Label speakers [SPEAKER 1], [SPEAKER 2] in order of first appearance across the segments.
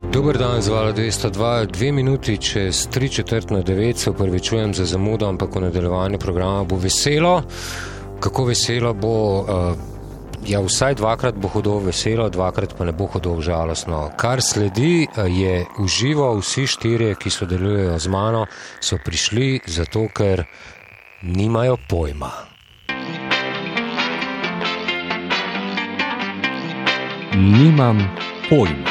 [SPEAKER 1] Dober dan, zvala 202, dve minuti čez tri četrt na devet, se upravičujem za zamudo, ampak v nadaljevanju programa bo veselo. Kako veselo bo, uh, ja, vsaj dvakrat bo hudo veselo, dvakrat pa ne bo hudo žalostno. Kar sledi eh, je uživo, vsi štirje, ki sodelujejo z mano, so prišli zato, ker nimajo pojma.
[SPEAKER 2] Nimam pojma.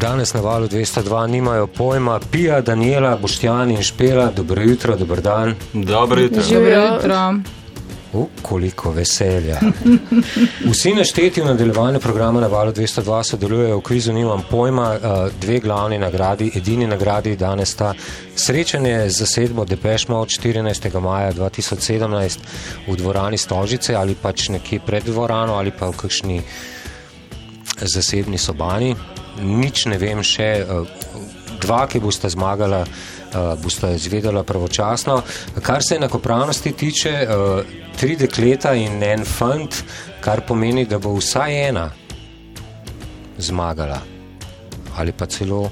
[SPEAKER 1] Danes na valu 202 nimajo pojma, pija Daniela, Boštjan in Špela, dobro jutro, dobr dan.
[SPEAKER 3] Dobro jutro.
[SPEAKER 4] Živijo jutro.
[SPEAKER 1] U, koliko veselja. Vsi našteti v nadaljevanju programa na valu 202 sodelujejo v kvizu Nimam pojma. eh, Dve glavni nagradi, edini nagradi danes sta srečanje z zasedbo Depešma od 14. maja 2017 v dvorani Stožice ali pač nekje pred dvorano ali pa v kakšni zasebni sobani. Nič ne vem še. eh, Dva, ki bosta zmagala, eh, bosta izvedela pravočasno. Kar se enakopravnosti tiče, eh, tri dekleta in en fant, kar pomeni, da bo vsaj ena zmagala, ali pa celo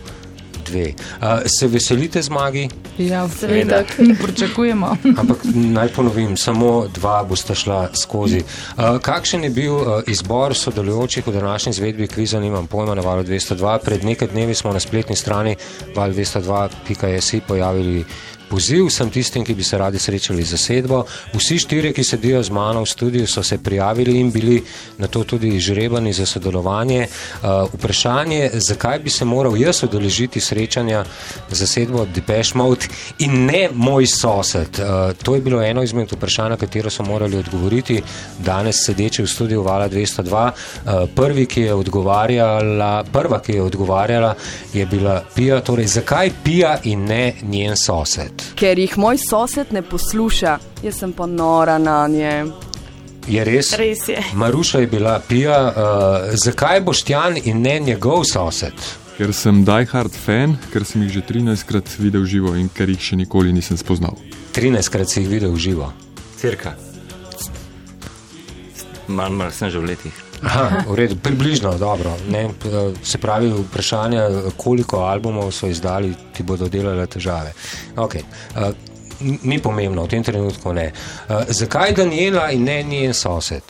[SPEAKER 1] dve. Eh, Se veselite zmagi?
[SPEAKER 4] Ja, seveda, pričakujemo.
[SPEAKER 1] Ampak naj ponovim, samo dva bosta šla skozi. Uh, kakšen je bil uh, izbor sodelujočih v današnji izvedbi kviza, nimam pojma, na valu 202. Pred nekaj dnevi smo na spletni strani val202.js pojavili poziv vsem tistim, ki bi se radi srečali z zasedbo. Vsi štirje, ki sedijo z mano v studiu, so se prijavili in bili na to tudi žrebani za sodelovanje. Uh, vprašanje, zakaj bi se moral jaz odeležiti srečanja z zasedbo Depeche Mode in ne moj sosed? Uh, to je bilo eno izmed vprašanj, na katero so morali odgovoriti danes sedeči v studiu Vala 202. Uh, prvi, ki je odgovarjala, prva, ki je odgovarjala, je bila Pija. Torej, zakaj Pija in ne njen sosed?
[SPEAKER 5] Ker jih moj sosed ne posluša, jaz sem pa nora na nje.
[SPEAKER 1] Je res?
[SPEAKER 6] Res je.
[SPEAKER 1] Maruša je bila pija. Uh, zakaj Boštjan in ne njegov sosed?
[SPEAKER 2] Ker sem diehard fan, ker sem jih že 13krat videl živo in ker jih še nikoli nisem spoznal.
[SPEAKER 1] 13krat si jih videl v živo.
[SPEAKER 3] Cirka. Malo mal sem že v letih.
[SPEAKER 1] Aha, v redu, približno dobro. Ne, eh, se pravi, vprašanje, koliko albumov so izdali, ti bodo delale težave. Okay. Uh, ni pomembno, v tem trenutku ne. Uh, zakaj Daniela in ne njen sosed?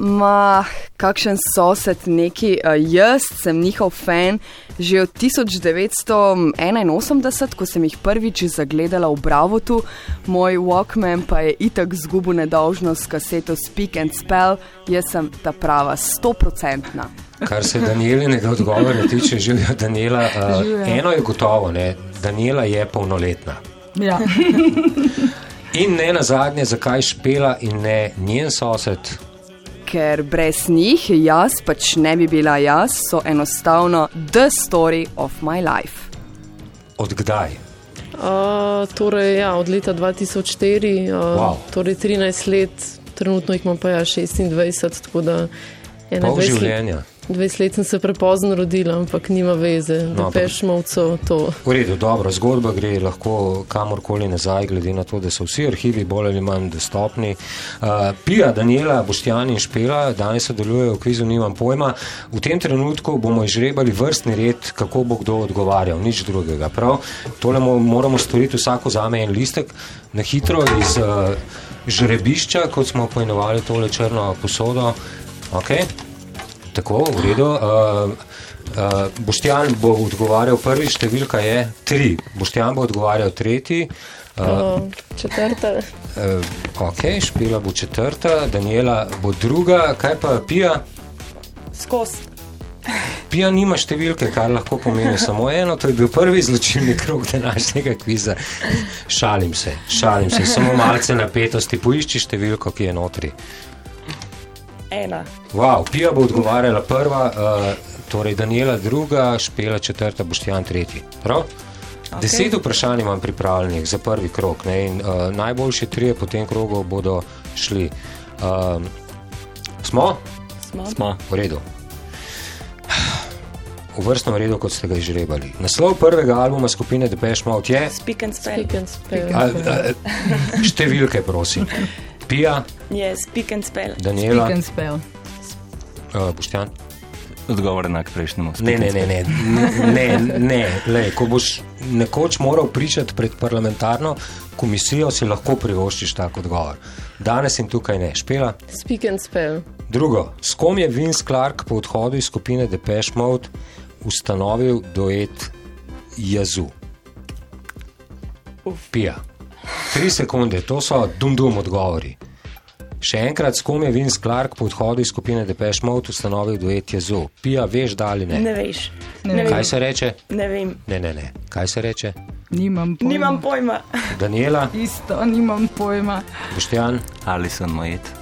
[SPEAKER 5] Ma, kakšen sosed neki, eh, jaz sem njihov fan že od 1981, ko sem jih prvič zagledala v Bravotu, moj Walkman pa je itak zgubil nedolžnost s kaseto Speak and Spell, jaz sem ta prava, stoprocentna.
[SPEAKER 1] Kar se Danielinega odgovora tiče, živijo Daniela. Uh, eno je gotovo, ne? Daniela je polnoletna.
[SPEAKER 4] Ja.
[SPEAKER 1] In ne na zadnje, zakaj špela in ne njen sosed.
[SPEAKER 5] Ker brez njih jaz pač ne bi bila jaz, so enostavno the story of my life.
[SPEAKER 1] Od kdaj?
[SPEAKER 6] Uh, torej, ja, od leta 2004, uh,
[SPEAKER 1] Wow.
[SPEAKER 6] torej 13 let, trenutno jih imam pa ja 26, tako da
[SPEAKER 1] Pol
[SPEAKER 6] 21 let.
[SPEAKER 1] življenja.
[SPEAKER 6] 20 let sem se prepozno rodila, ampak nima veze,
[SPEAKER 1] No,
[SPEAKER 6] no,
[SPEAKER 1] ampak-
[SPEAKER 6] da peš mavco to.
[SPEAKER 1] V redu, dobro, zgodba gre lahko kamorkoli nazaj, glede na to, da so vsi arhivi bolj ali manj dostopni. Uh, Pija, Daniela, Boštjan in Špela danes sodelujejo v kvizu, nimam pojma. V tem trenutku bomo izžrebali vrstni red, kako bo kdo odgovarjal, nič drugega. Prav, tole mo- moramo storiti vsako zame en listek, na hitro iz uh, žrebišča, kot smo poimenovali tole črno posodo. Okay. Tako, v redu. Uh, uh, Boštjan bo odgovarjal prvi, številka je tri. Boštjan bo odgovarjal tretji, uh,
[SPEAKER 6] Uh, četrta,
[SPEAKER 1] uh, ok, Špila bo četrta, Daniela bo druga, kaj pa Pija?
[SPEAKER 7] Skozi.
[SPEAKER 1] Pija nima številke, kar lahko pomeni samo eno. To je bil prvi zločinni krog današnjega kviza. Šalim se, šalim se, samo malce napetosti. Poišči številko, ki je notri.
[SPEAKER 7] Ena.
[SPEAKER 1] Wow, Pija bo odgovarjala prva, uh, torej Daniela druga, Špela četrta, Boštjan tretji. Prav? Okay. Deset vprašanj imam pripravljenih za prvi krok. Ne? In, uh, najboljši trije po tem krogu bodo šli. Um, smo?
[SPEAKER 3] Smo.
[SPEAKER 1] V redu. V vrstnem redu, kot ste ga izžrebali. Naslov prvega albuma skupine Depeche Mode je
[SPEAKER 7] Speak and spell.
[SPEAKER 6] pikan spel.
[SPEAKER 1] a, a, številke, prosim. Pija,
[SPEAKER 7] Je yes, speak and spell.
[SPEAKER 1] Daniela,
[SPEAKER 4] Piken spel.
[SPEAKER 1] uh, Boštjan.
[SPEAKER 3] Odgovor je enak prejšnjemu.
[SPEAKER 1] Ne, ne, ne, ne, ne, ne, ne. Lej, ko boš nekoč moral pričati pred parlamentarno komisijo, si lahko privoščiš tak odgovor. Danes jim tukaj ne špela.
[SPEAKER 6] Speak and spell.
[SPEAKER 1] Drugo, s kom je Vince Clark po odhodu iz skupine Depeche Mode ustanovil duet Jazu? Pija. Tri sekunde, to so dum-dum odgovori. Še enkrat, s kom je Vince Clark po odhodu iz skupine Depeche Mode ustanovil duet Jazu? Pija, veš, da ali ne?
[SPEAKER 7] Ne veš.
[SPEAKER 4] Ne
[SPEAKER 7] Ne
[SPEAKER 4] vem.
[SPEAKER 1] Kaj
[SPEAKER 7] vem.
[SPEAKER 1] se reče?
[SPEAKER 7] Ne vem.
[SPEAKER 1] Ne, ne, ne. Kaj se reče?
[SPEAKER 4] Nimam pojma.
[SPEAKER 7] Nimam pojma.
[SPEAKER 1] Daniela,
[SPEAKER 4] Isto, nimam pojma.
[SPEAKER 1] Boštjan
[SPEAKER 3] Ali sem mojet?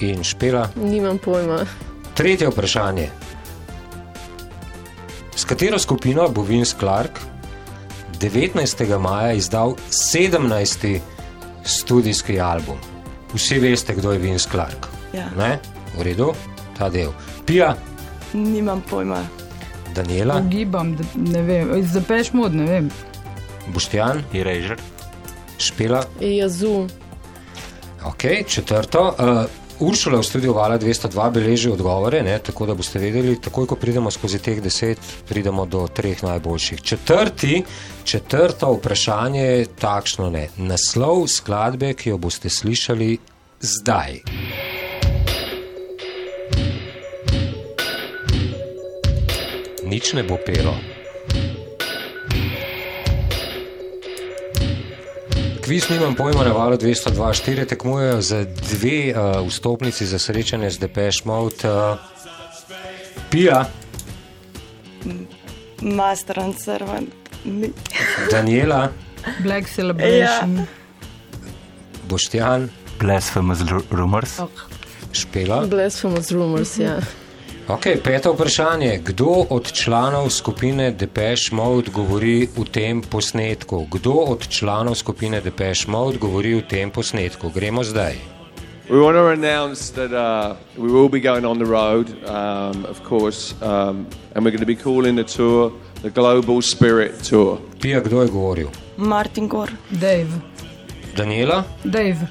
[SPEAKER 1] in Špela.
[SPEAKER 6] Nimam pojma.
[SPEAKER 1] Tretje vprašanje. S katero skupino bo Vince Clark 19. maja izdal 17. studijski album? Vsi veste, kdo je Vince Clark.
[SPEAKER 7] Ja.
[SPEAKER 1] Ne? V redu, ta del. Pija,
[SPEAKER 7] Nimam pojma.
[SPEAKER 1] Daniela,
[SPEAKER 4] Ugibam, da- ne vem. Zapeš mod, ne vem.
[SPEAKER 1] Boštjan,
[SPEAKER 3] Eraser?
[SPEAKER 1] Špela.
[SPEAKER 6] E, Jazu.
[SPEAKER 1] Okay, četrto. Uh, Uršula v studiu Vala 202 beleži odgovore, ne, tako da boste vedeli, takoj ko pridemo skozi teh deset, pridemo do treh najboljših. Četrti, četrto vprašanje je takšno: ne. naslov skladbe, ki jo boste slišali zdaj. Nič ne bo pelo. Kviz nimam pojma, na valu 202-4 tekmujejo za dve uh, vstopnici za srečanje z Depeš Mode. Uh, Pija,
[SPEAKER 7] Master and servant. Mi-
[SPEAKER 1] Daniela,
[SPEAKER 4] Black Celebration.
[SPEAKER 1] Boštjan,
[SPEAKER 3] Blasphemous ru- rumors?
[SPEAKER 1] Špela.
[SPEAKER 6] Blasphemous rumors, ja.
[SPEAKER 1] Okay, peto vprašanje. Kdo od članov skupine Depeš Mode govori v tem posnetku? Kdo od članov skupine Depeš Mode govori v tem posnetku? Gremo zdaj.
[SPEAKER 8] We want to announce that uh, we will be going on the road, um, of course, um, and we're going to be calling the tour the Global Spirit Tour.
[SPEAKER 1] Pija, kdo je govoril?
[SPEAKER 7] Martin Gor.
[SPEAKER 4] Dave.
[SPEAKER 1] Daniela,
[SPEAKER 4] Dave.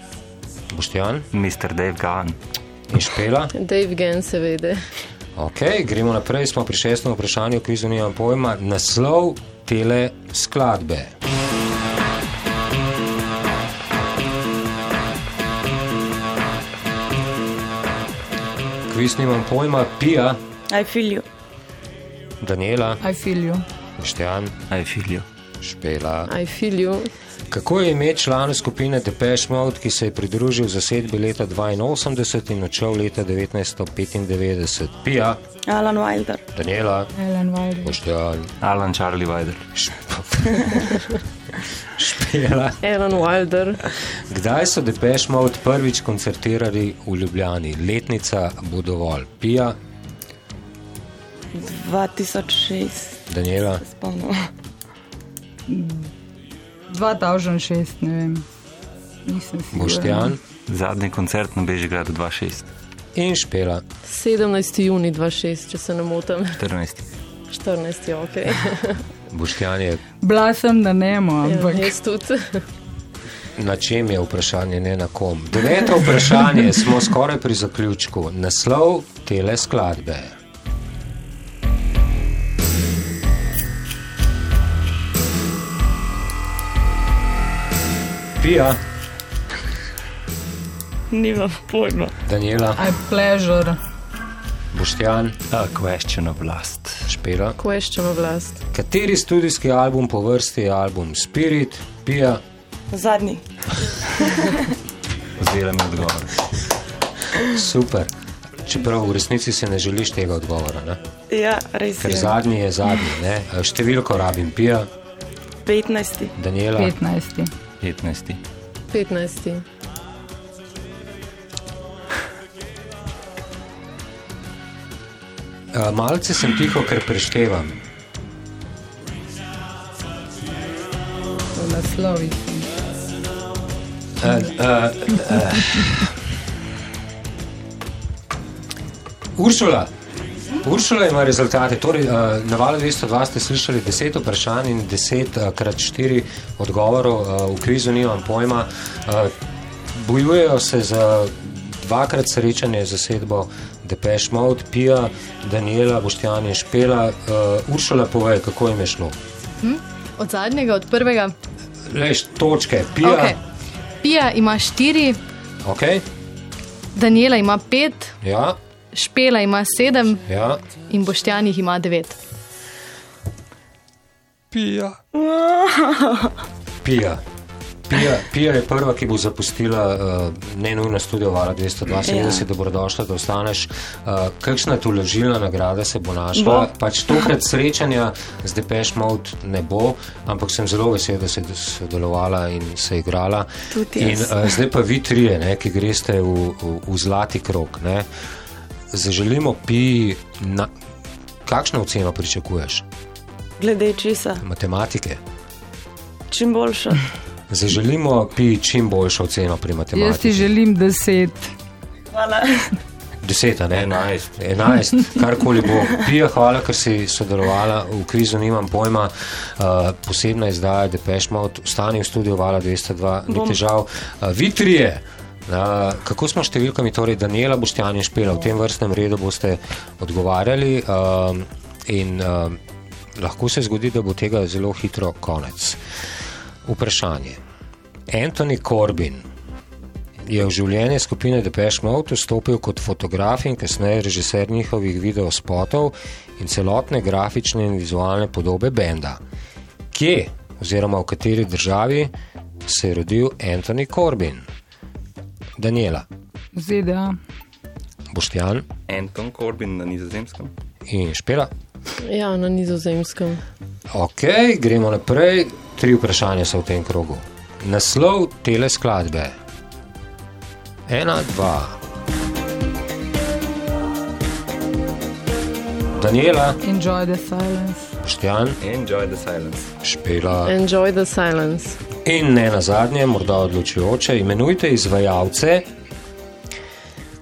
[SPEAKER 1] Boštjan
[SPEAKER 3] Mr. Dave Gahan.
[SPEAKER 1] in Špela.
[SPEAKER 6] Dave Gen, seveda.
[SPEAKER 1] Ok, gremo naprej, smo pri šestem vprašanju, ki zunija pojma naslov tele skladbe. Kviz nimam pojma, Pija,
[SPEAKER 7] I feel you.
[SPEAKER 1] Daniela,
[SPEAKER 4] I feel you.
[SPEAKER 1] Štjan,
[SPEAKER 3] I feel you.
[SPEAKER 1] Špela.
[SPEAKER 6] I feel you.
[SPEAKER 1] Kako je ime člana skupine Depeche Mode, ki se je pridružil zasedbi leta 82 in odšel leta 1995? Pija,
[SPEAKER 7] Alan Wilder.
[SPEAKER 1] Daniela,
[SPEAKER 4] Ellen Wilde.
[SPEAKER 1] Štjan,
[SPEAKER 3] Alan Charlie Wilder.
[SPEAKER 1] Špela.
[SPEAKER 6] Alan Wilder.
[SPEAKER 1] Kdaj so Depeche Mode prvič koncertirali v Ljubljani? Letnica bo dovolj. Pija,
[SPEAKER 7] 2006.
[SPEAKER 1] Daniela,
[SPEAKER 7] Spomnim.
[SPEAKER 4] 2006, ne vem. Nisem si.
[SPEAKER 1] Boštjan
[SPEAKER 3] Zadnji koncert na Bežigradu 2.6.
[SPEAKER 1] in Špela.
[SPEAKER 6] 17. juni 2006, če se ne motim.
[SPEAKER 3] 14.
[SPEAKER 6] 14. ok.
[SPEAKER 1] Boštjan je,
[SPEAKER 4] Bila sem, da nemo,
[SPEAKER 6] Ja,
[SPEAKER 4] ampak.
[SPEAKER 6] jaz tudi.
[SPEAKER 1] na čem je vprašanje, ne na kom. Deveto vprašanje smo skoraj pri zaključku. Naslov tele skladbe. Pija,
[SPEAKER 7] Nimam pojma.
[SPEAKER 1] Daniela,
[SPEAKER 4] I pleasure.
[SPEAKER 1] Boštjan,
[SPEAKER 3] A question of last.
[SPEAKER 1] Špela.
[SPEAKER 6] Koščemo vlast.
[SPEAKER 1] Kateri studijski album po vrsti je album Spirit, Pija,
[SPEAKER 7] Zadnji.
[SPEAKER 3] Vzela mi odgovor.
[SPEAKER 1] super. Čeprav v resnici si ne želiš tega odgovora, ne?
[SPEAKER 7] Ja, res
[SPEAKER 1] ker
[SPEAKER 7] je.
[SPEAKER 1] zadnji je zadnji. Ne? Eh, Številko rabim, Pija,
[SPEAKER 7] 15.
[SPEAKER 1] Daniela,
[SPEAKER 4] 15.
[SPEAKER 3] 15.
[SPEAKER 6] 15.
[SPEAKER 1] Eh, malce sem tiho, ker preštevam.
[SPEAKER 4] V naslovih.
[SPEAKER 1] Uršula. Uršula ima rezultate. Torej, eh, na valu 202 ste slišali 10 vprašanj in 10 eh, krat 4 odgovorov, eh, v krizu nimam pojma. Eh, Bojujejo se za dvakrat srečanje z zasedbo Depeche Mode, Pija, Daniela, Boštjan in Špela. Uh, Uršula pove, kako jim je šlo.
[SPEAKER 9] Od zadnjega, od prvega.
[SPEAKER 3] Ja.
[SPEAKER 1] Leš točke, Pija,
[SPEAKER 9] Okay.
[SPEAKER 1] okay.
[SPEAKER 9] Pija ima štiri,
[SPEAKER 1] Okay,
[SPEAKER 9] Daniela ima pet,
[SPEAKER 1] ja,
[SPEAKER 9] Špela ima sedem
[SPEAKER 1] ja.
[SPEAKER 9] in Boštjan jih ima devet.
[SPEAKER 2] Pija.
[SPEAKER 1] Pija. Pija, Pija je prva, ki bo zapustila uh, ne nujno studio Vara 272, ja. dobrodošla, da ostaneš. Uh, kakšna tuložilna nagrada se bo našla? Bo. Pač tokrat srečanja z Depeš Mode ne bo, ampak sem zelo vesel, da se je sodelovala in se igrala.
[SPEAKER 7] Tudi
[SPEAKER 1] In
[SPEAKER 7] jaz.
[SPEAKER 1] uh, zdaj pa vi trije, ne, ki greste v, v, v zlati krok. Ne. Zaželimo Piji, na, kakšno oceno pričakuješ?
[SPEAKER 7] Glede česa,
[SPEAKER 1] Matematike?
[SPEAKER 7] čim boljša.
[SPEAKER 1] Zaželimo pi čim boljšo oceno pri matematiki.
[SPEAKER 4] Jaz ti želim deset.
[SPEAKER 7] Hvala.
[SPEAKER 1] Deset, a ne enajst. Enajst, karkoli bo. Pija, hvala, ker si sodelovala v krizu, nimam pojma. Uh, posebna izdaja Depeche Mode, ostani v studiu Vala 202, ni
[SPEAKER 7] Bom.
[SPEAKER 1] težav. Uh, vi trije. Uh, kako smo s številkami, torej Daniela Boštjan in Špela, v tem vrstnem redu boste odgovarjali um, in um, lahko se zgodi, da bo tega zelo hitro konec. Vprašanje. Anthony Corbin je v življenje skupine Depeche Mode vstopil kot fotograf in kasneje režiser njihovih videospotov in celotne grafične in vizualne podobe benda. Kje oziroma v kateri državi se je rodil Anthony Corbin? Daniela,
[SPEAKER 4] ZDA.
[SPEAKER 1] Boštjan
[SPEAKER 3] Anton Corbin na nizozemskem.
[SPEAKER 1] in Špela.
[SPEAKER 6] Ja, na nizozemskem.
[SPEAKER 1] Ok, gremo naprej. Tri vprašanja so v tem krogu. Naslov tele skladbe. Ena, dva. Daniela,
[SPEAKER 4] Enjoy the silence.
[SPEAKER 1] Boštjan,
[SPEAKER 3] Enjoy the silence.
[SPEAKER 1] Špela
[SPEAKER 6] Enjoy the silence.
[SPEAKER 1] in ne na zadnje, morda odločujoče, imenujte izvajalce,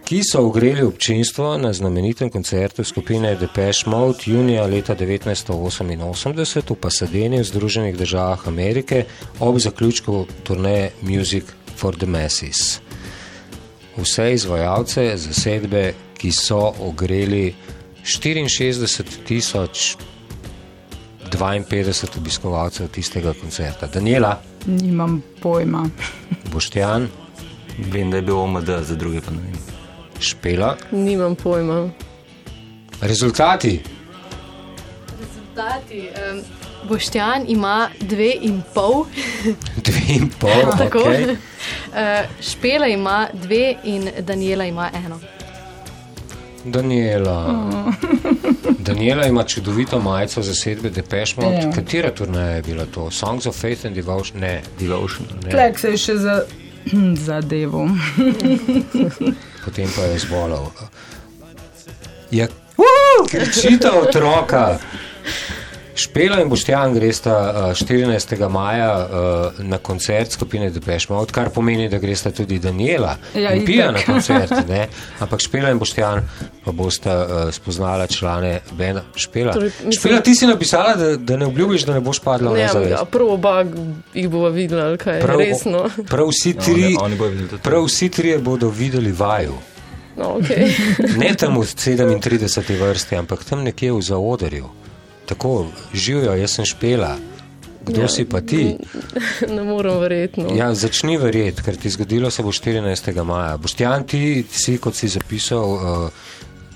[SPEAKER 1] ki so ogreli občinstvo na znamenitem koncertu skupine Depeche Mode junija leta 1988 v Pasadeni v Združenih državah Amerike ob zaključku turneje Music for the Masses. Vse izvajalce zasedbe, ki so ogreli 64 tisoč 52 obiskovalcev tistega koncerta. Daniela,
[SPEAKER 4] Nimam pojma.
[SPEAKER 1] Boštjan,
[SPEAKER 3] Vem, da je bil OMD, za druge pa ne vem.
[SPEAKER 1] Špela.
[SPEAKER 6] Nimam pojma.
[SPEAKER 1] Rezultati.
[SPEAKER 9] Rezultati. Um, Boštjan ima dve in pol,
[SPEAKER 1] Dve in pol,
[SPEAKER 9] tako.
[SPEAKER 1] okay.
[SPEAKER 9] Uh, Špela ima dve in Daniela ima eno.
[SPEAKER 1] Daniela. Daniela ima čudovito majico zasedbe Depeche Mode.
[SPEAKER 4] Ja.
[SPEAKER 1] Katera turneja je bila to? Songs of Faith and Devotion? Ne.
[SPEAKER 3] Devotion.
[SPEAKER 1] ne.
[SPEAKER 4] Plek se je še za zadevo.
[SPEAKER 1] Potem pa je zbolel. Je krčita otroka. Špela in Boštjan gresta eh, 14. maja eh, na koncert skupine Depeche Mode, kar pomeni, da gresta tudi Daniela
[SPEAKER 4] Ja,
[SPEAKER 1] in
[SPEAKER 4] itak.
[SPEAKER 1] Pija na koncert. Ne? Ampak Špela in Boštjan pa bosta eh, spoznala člane Bena. Špela.
[SPEAKER 6] Torej, mislim- Ja,
[SPEAKER 1] Špela, ti si napisala, da, da ne obljubiš, da ne boš
[SPEAKER 3] No,
[SPEAKER 1] padla v
[SPEAKER 6] Ne,
[SPEAKER 1] nezavest.
[SPEAKER 6] ampak prav oba jih bova videla, ali kaj.
[SPEAKER 1] Prav-
[SPEAKER 6] Resno.
[SPEAKER 1] Prav vsi
[SPEAKER 3] Ja,
[SPEAKER 1] tri,
[SPEAKER 3] oni- oni bojo videli tudi
[SPEAKER 1] prav vsi trije bodo videli vaju.
[SPEAKER 6] No, okay.
[SPEAKER 1] Ne tam v 37. vrsti, ampak tam nekje v zaodarju. Tako živijo, jaz sem špela. Kdo ja. si pa ti?
[SPEAKER 6] ne morem verjetno.
[SPEAKER 1] Ja, začni verjeti, ker ti zgodilo se bo 14. maja. Boštjan, ti si, kot si zapisal, uh,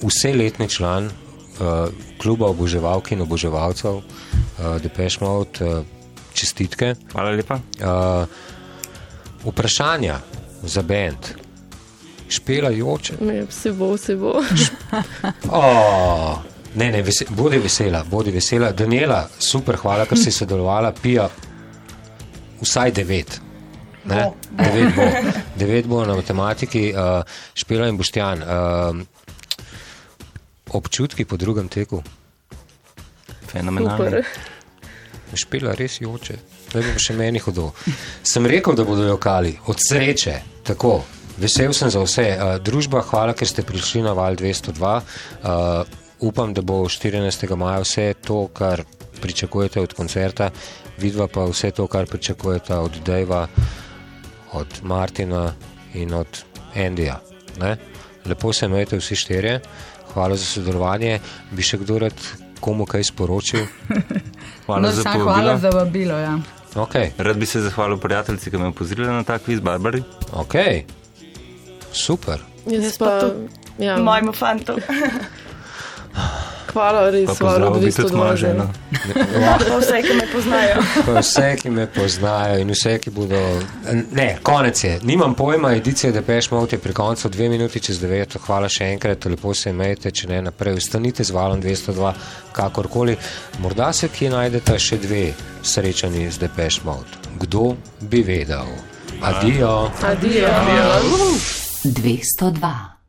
[SPEAKER 1] vse letni član uh, kluba oboževalk in oboževalcev, uh, Depeche Mode, uh, čestitke.
[SPEAKER 3] Hvala lepa.
[SPEAKER 1] Uh, vprašanja za bend. Špela joče.
[SPEAKER 6] Ne, vse bo, vse bo.
[SPEAKER 1] Oh, ne, ne, vese, bodi vesela, bodi vesela. Daniela, super, hvala, ker si sodelovala, pija vsaj devet. Ne? Devet bo, devet bo na matematiki, uh, špila in boštjan. Uh, občutki po drugem teku,
[SPEAKER 3] Fenomenalno.
[SPEAKER 6] Super.
[SPEAKER 1] špila res joče, da bo še meni hudo. Sem rekel, da bodo jokali, od sreče, tako. Vesel sem za vse. Uh, družba, hvala, ker ste prišli na val 202. Uh, upam, da bo 14. maja vse to, kar pričakujete od koncerta, vidva pa vse to, kar pričakujete od Dejva, od Martina in od Endija. Ne? lepo se imejte vsi štirje, hvala za sodelovanje. Bi še kdo rad komu kaj sporočil?
[SPEAKER 3] Hvala
[SPEAKER 4] no,
[SPEAKER 3] za
[SPEAKER 4] samo hvala
[SPEAKER 3] povabilo.
[SPEAKER 4] za vabilo. Ja.
[SPEAKER 1] Okay.
[SPEAKER 3] Rad bi se zahvalil prijateljici, ki me je opozorila na ta kviz, Barbari.
[SPEAKER 1] Ok, super.
[SPEAKER 6] Jaz
[SPEAKER 7] Jaz pa
[SPEAKER 6] pa,
[SPEAKER 7] tudi
[SPEAKER 6] ja,
[SPEAKER 7] mojemu fantu.
[SPEAKER 6] hvala
[SPEAKER 3] Pa
[SPEAKER 6] res, hvala,
[SPEAKER 3] pozdravil bi tudi mojo ženo.
[SPEAKER 7] Ja, pa vse, ki me poznajo.
[SPEAKER 1] Pa Vse, ki me poznajo in vse, ki bodo. Ne, konec je. Nimam pojma, edicija Depeš Mode je pri koncu, dve minuti čez devet. Hvala še enkrat, lepo se imejte, če ne naprej. Ostanite z valom 202, kakorkoli. Morda se kje najdete še dve srečanji z Depeš Mode. Kdo bi vedel? Adijo.
[SPEAKER 6] Adijo.
[SPEAKER 10] Dvesto dva.